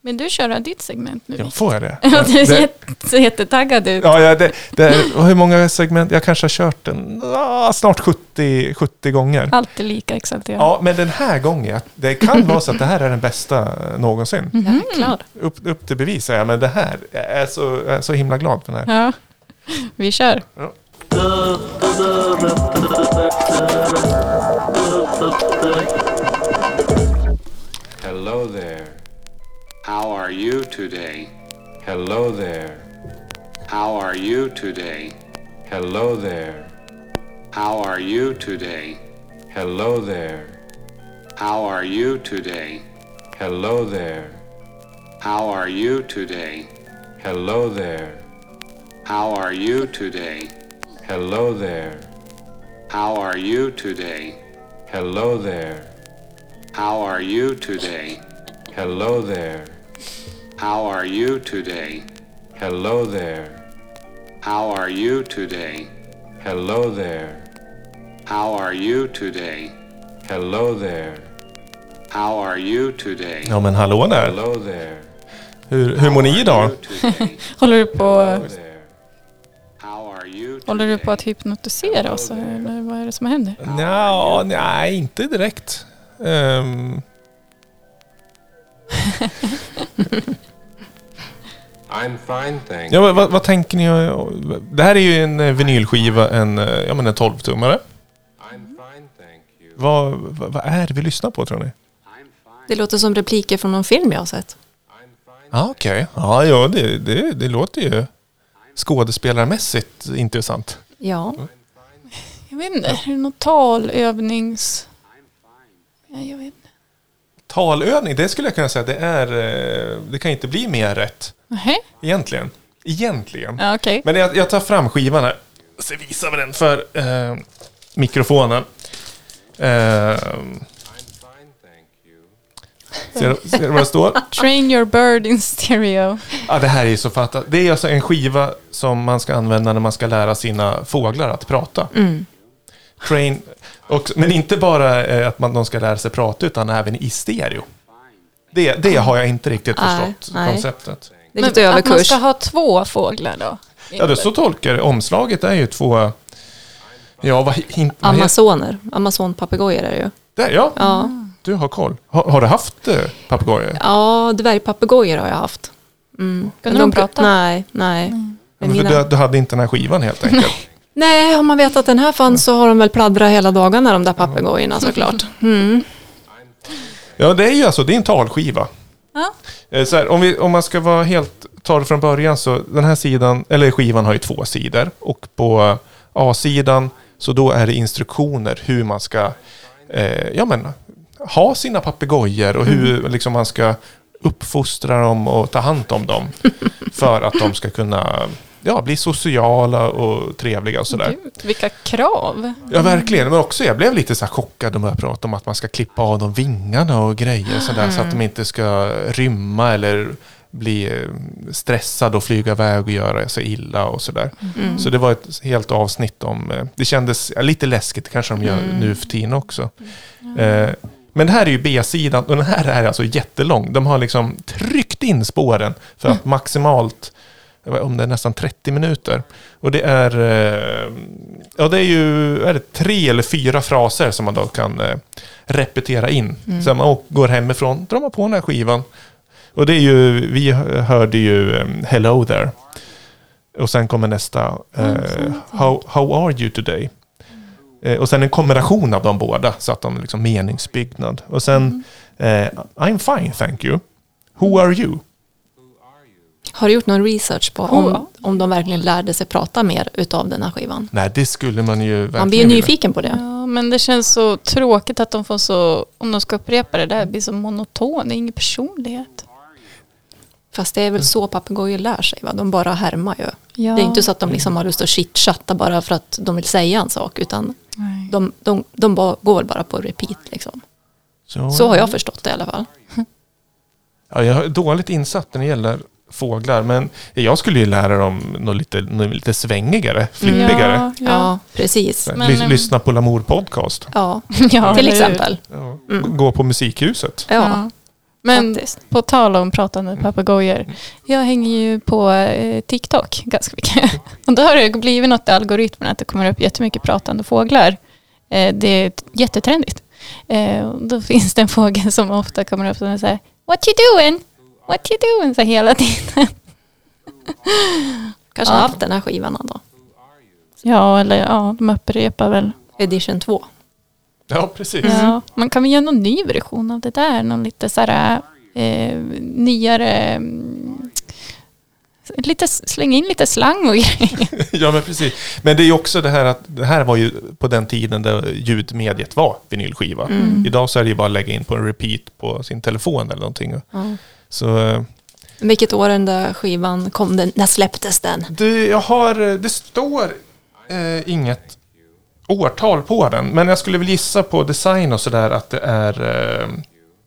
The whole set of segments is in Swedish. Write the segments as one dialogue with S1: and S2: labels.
S1: Vill du köra ditt segment nu?
S2: Ja, får jag det?
S1: Ja, du
S2: det
S1: ser jätte, jättetaggad ut.
S2: ja, ja, det, det är, hur många segment? Jag kanske har kört den ah, snart 70, 70 gånger.
S1: Alltid lika exalterad.
S2: Ja, men den här gången, det kan vara så att det här är den bästa någonsin.
S1: Mhm. Ja, klar.
S2: Upp, upp till bevis säger jag, men det här, jag är så, jag är så himla glad för den här.
S1: Ja. Vi kör.
S3: Hello there.
S4: How are you today?
S3: Hello there.
S4: How are you today?
S3: Hello there.
S4: How are you today?
S3: Hello there.
S4: How are you today?
S3: Hello there.
S4: How are you today?
S3: Hello there.
S4: How are you today?
S3: Hello there.
S4: How are you today?
S3: Hello there.
S4: How are you today?
S3: Hello there.
S4: How are you today?
S3: Hello there.
S4: How are you today?
S3: Hello there.
S4: How are you today?
S3: Hello there.
S4: How are you today?
S2: Ja, men hallå där!
S3: Hello there.
S2: Hur, hur mår ni idag?
S4: You today.
S1: Håller du på,
S3: Hello there.
S4: How are you
S1: håller du på
S4: today?
S1: att hypnotisera oss? Eller vad är det som händer?
S2: Nja, nej, inte direkt. Ehm,
S3: I'm fine, thank
S2: ja, men vad, vad tänker ni? Det här är ju en eh, vinylskiva, en, eh, ja, men en 12-tummare.
S3: I'm fine, thank you.
S2: Vad, vad, vad är det vi lyssnar på tror ni?
S5: Det låter som repliker från någon film jag har sett.
S3: I'm fine.
S2: Ah, Okej, ja, ja det, det, det låter ju skådespelarmässigt intressant.
S5: Ja.
S1: Jag vet inte. Är det någon talövnings... Ja, jag vet inte.
S2: Talövning, det skulle jag kunna säga, det, är, eh, det kan inte bli mer rätt.
S1: Nähä?
S2: Egentligen. Egentligen.
S1: Ja, okej.
S2: Men jag, jag tar fram skivan här. Så visar vi den för eh, mikrofonen. Eh,
S3: I'm fine, thank you.
S2: ser, ser du vad det står?
S1: Train your bird in stereo.
S2: Ja, det här är ju så fattat. Det är alltså en skiva som man ska använda när man ska lära sina fåglar att prata.
S5: Mm.
S2: Train, och, men inte bara eh, att man, de ska lära sig prata, utan även i stereo. Det, det har jag inte riktigt
S5: Mm. Nej,
S2: förstått
S5: nej.
S2: konceptet.
S5: Det är lite
S1: att man
S5: överkurs.
S1: ska ha två fåglar då?
S2: Ja, det så tolkar jag. Omslaget är ju två... Ja, vad, in, vad heter
S5: Amazoner. Amazonpapegojor är det ju.
S2: det? Ja,
S5: Ja.
S2: du har koll. Har, har du haft eh, papegojor?
S5: ja, dvärgpapegojor har jag haft. Mm.
S1: Kunde de prata?
S5: Nej, nej. Men
S2: Ja, men för
S5: mina-
S2: du, du hade inte den här skivan helt enkelt.
S5: Nej, om man vet att den här fanns så har de väl pladdrat hela dagarna de där papegojorna såklart. Mm.
S2: Ja, det är ju alltså, det är en talskiva.
S1: Ja.
S2: Eh, Så här, om, vi, om man ska vara helt ta det från början så den här sidan, eller skivan har ju två sidor och på A-sidan så då är det instruktioner hur man ska eh, ja, men, ha sina papegojor och hur liksom, man ska uppfostra dem och ta hand om dem för att de ska kunna ja, bli sociala och trevliga och sådär.
S1: Gud, vilka krav.
S2: Ja, verkligen. Men också jag blev lite så här chockad när jag pratade om att man ska klippa av dem vingarna och grejer sådär, så att de inte ska rymma eller bli eh, stressade och flyga iväg och göra sig illa och sådär.
S1: Mm.
S2: Så det var ett helt avsnitt om, eh, det kändes ja, lite läskigt, kanske de gör nu för tiden också. Eh, Men det här är ju B-sidan och den här är alltså jättelång. De har liksom tryckt in spåren för att maximalt, jag vet inte, om det är nästan 30 minuter. Och det är, eh, ja det är ju är det tre eller fyra fraser som man då kan eh, repetera in. Så man å- går hemifrån, drar man på den här skivan. Och det är ju, vi hörde ju eh, Hello there. Och sen kommer nästa, eh, how, how are you today? Eh, och sen en kombination av de båda, så att de liksom meningsbyggnad. Och sen, eh, I'm fine thank you. Who are you?
S5: Har du gjort någon research på
S2: Oh.
S5: om, om de verkligen lärde sig prata mer utav den här skivan?
S2: Nej, det skulle man ju verkligen
S5: Man blir ju
S2: vilja.
S5: nyfiken på det.
S1: Ja, men det känns så tråkigt att de får så, om de ska upprepa det där, blir så monoton, det är ingen personlighet.
S5: Fast det är väl så papegojor lär sig, va? de bara härmar ju.
S1: Ja.
S5: Det är inte så att de liksom har lust att chitchatta bara för att de vill säga en sak, utan de, de, de bara, går väl bara på repeat. Liksom. Så har jag förstått det i alla fall.
S2: Ja, jag är dåligt insatt när det gäller fåglar, men jag skulle ju lära dem något lite, något lite svängigare, flippigare.
S1: Ja,
S5: Ja,
S1: ja.
S5: precis.
S2: Lys-
S1: men, ehm,
S2: Lyssna på Lamour podcast.
S5: Ja,
S1: ja
S5: till
S1: eller hur?
S5: exempel.
S2: Gå på Musikhuset.
S5: Ja.
S1: Men
S5: Faktiskt.
S1: på tal om pratande papegojor. Jag hänger ju på eh, TikTok ganska mycket. Och då har det blivit något i algoritmen att det kommer upp jättemycket pratande fåglar. Eh, det är t- jättetrendigt. Eh, och då finns det en fågel som ofta kommer upp som säger What you doing? What you doing? Så hela tiden.
S5: Kanske
S1: Ja.
S5: haft den här skivan då.
S1: Ja, eller ja, de upprepar väl.
S5: Edition 2.
S2: Ja, precis.
S5: Mm.
S1: Ja, man kan väl göra någon ny version av det där. Någon lite så här, eh, nyare... mm, Lite, släng in lite slang och grejer.
S2: Ja, men precis. Men det är ju också det här att det här var ju på den tiden där ljudmediet var vinylskiva. Idag så är det ju bara att lägga in på en repeat på sin telefon eller någonting. Så eh,
S5: Vilket år den där skivan kom, den, när släpptes den?
S2: det, jag har, det står eh, inget årtal på den, men jag skulle väl gissa på design och sådär att det är... Eh,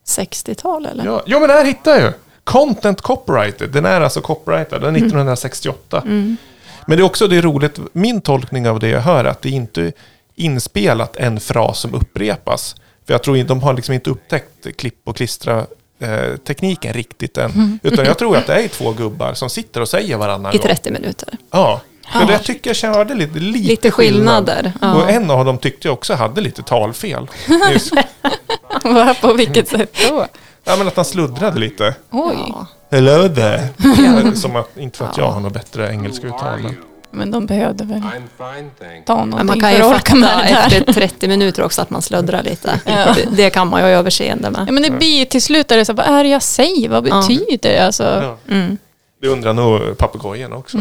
S5: 60-tal eller?
S2: ja, ja, men det här hittar jag ju! Content copyrighted, den är alltså copyrightad, den
S5: Mm.
S2: är 1968. Men det är också det är roligt, min tolkning av det jag hör är att det är inte inspelat en fras som upprepas. För jag tror inte, de har liksom inte upptäckt klipp och klistra eh, tekniken riktigt än. Utan jag tror att det är två gubbar som sitter och säger varannan
S5: Mm. I
S2: gång.
S5: 30 minuter.
S2: Ja, men jag tycker jag hörde lite, lite,
S5: Lite skillnader,
S2: skillnad.
S5: ja.
S2: Och en av dem tyckte jag också hade lite talfel. Just.
S1: Va, På vilket sätt då?
S2: ja, men att han sluddrade lite.
S1: Oj,
S5: Ja.
S2: Hello there. Som att, inte för att jag har något bättre engelska uttal. men-
S1: men de behövde väl
S3: I'm fine, thank
S1: ta
S5: Men
S1: någonting
S5: man kan ju
S1: för att orka med
S5: fatta
S1: det där.
S5: efter 30 minuter också att man slöddrar lite. Det, det kan man ju ha överseende med.
S1: Ja, men det blir till slut är det så här, vad är det jag säger? Vad betyder det? Alltså,
S2: Ja. Det undrar nog papegojan också.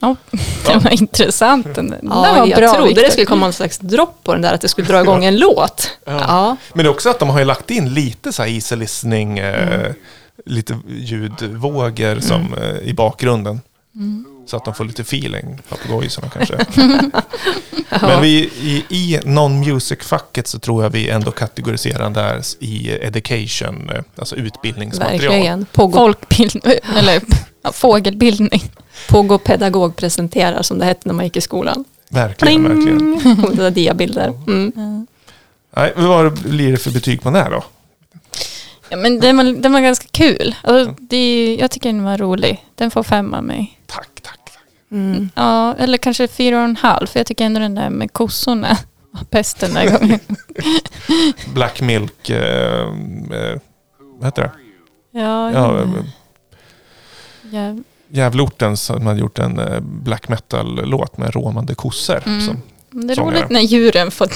S1: ja, det var intressant. Den, den
S5: Ja,
S1: var
S5: jag
S1: bra,
S5: trodde
S1: Victor.
S5: det skulle komma en slags dropp på den där, att det skulle dra igång en låt. Ja.
S2: Men det är också att de har ju lagt in lite så här easy listening, eh, lite ljudvågor som, eh, i bakgrunden. Så att de får lite feeling, papegojorna kanske. Men vi, i, i non-music-facket så tror jag vi ändå kategoriserar den där i education, eh, alltså utbildningsmaterial.
S5: verkligen. Pågå,
S1: Folkbildning, eller ja, fågelbildning.
S5: pågå pedagog presenterar, som det hette när man gick i skolan.
S2: Verkligen, verkligen.
S5: Och det där diabilder. Mm.
S2: Nej, men vad blir det för betyg på den här då?
S1: Ja, men den var, den var ganska kul. Alltså, det, jag tycker den var rolig. Den får fem av mig.
S2: Tack, tack, tack. Mm.
S1: Ja, eller kanske fyra och en halv. För jag tycker ändå den där med kossorna var bäst den där gången.
S2: Black Milk, eh, eh, vad heter det?
S1: Ja,
S2: Ja,
S1: ja,
S2: eh, Gävleorten som hade gjort en eh, black metal-låt med råmande kossor.
S5: Mm.
S2: Som,
S1: det är
S2: Sångare.
S1: roligt när djuren får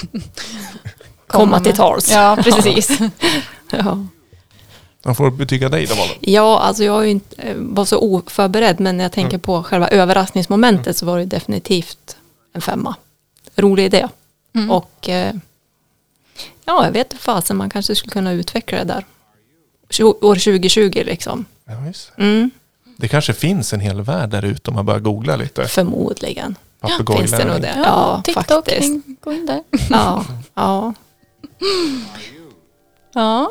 S5: Komma till
S1: med.
S5: tals.
S1: Ja, precis.
S5: Ja.
S2: man får betyga dig då, Malin.
S5: Ja, alltså jag är ju inte, eh, var så oförberedd, men när jag tänker på själva överraskningsmomentet så var det definitivt en femma. Rolig idé. Och eh, ja, jag vet inte fasen, man kanske skulle kunna utveckla det där. Tjo- År 2020 liksom.
S2: Ja, just. det.
S5: Mm,
S2: Det kanske finns en hel värld där ute om man börjar googla lite.
S5: förmodligen. Finns det nog
S2: Papegojlärning.
S5: det? Ja,
S1: TikTok,
S5: faktiskt.
S1: in- gå in där.
S5: Ja, ja.
S1: Ja,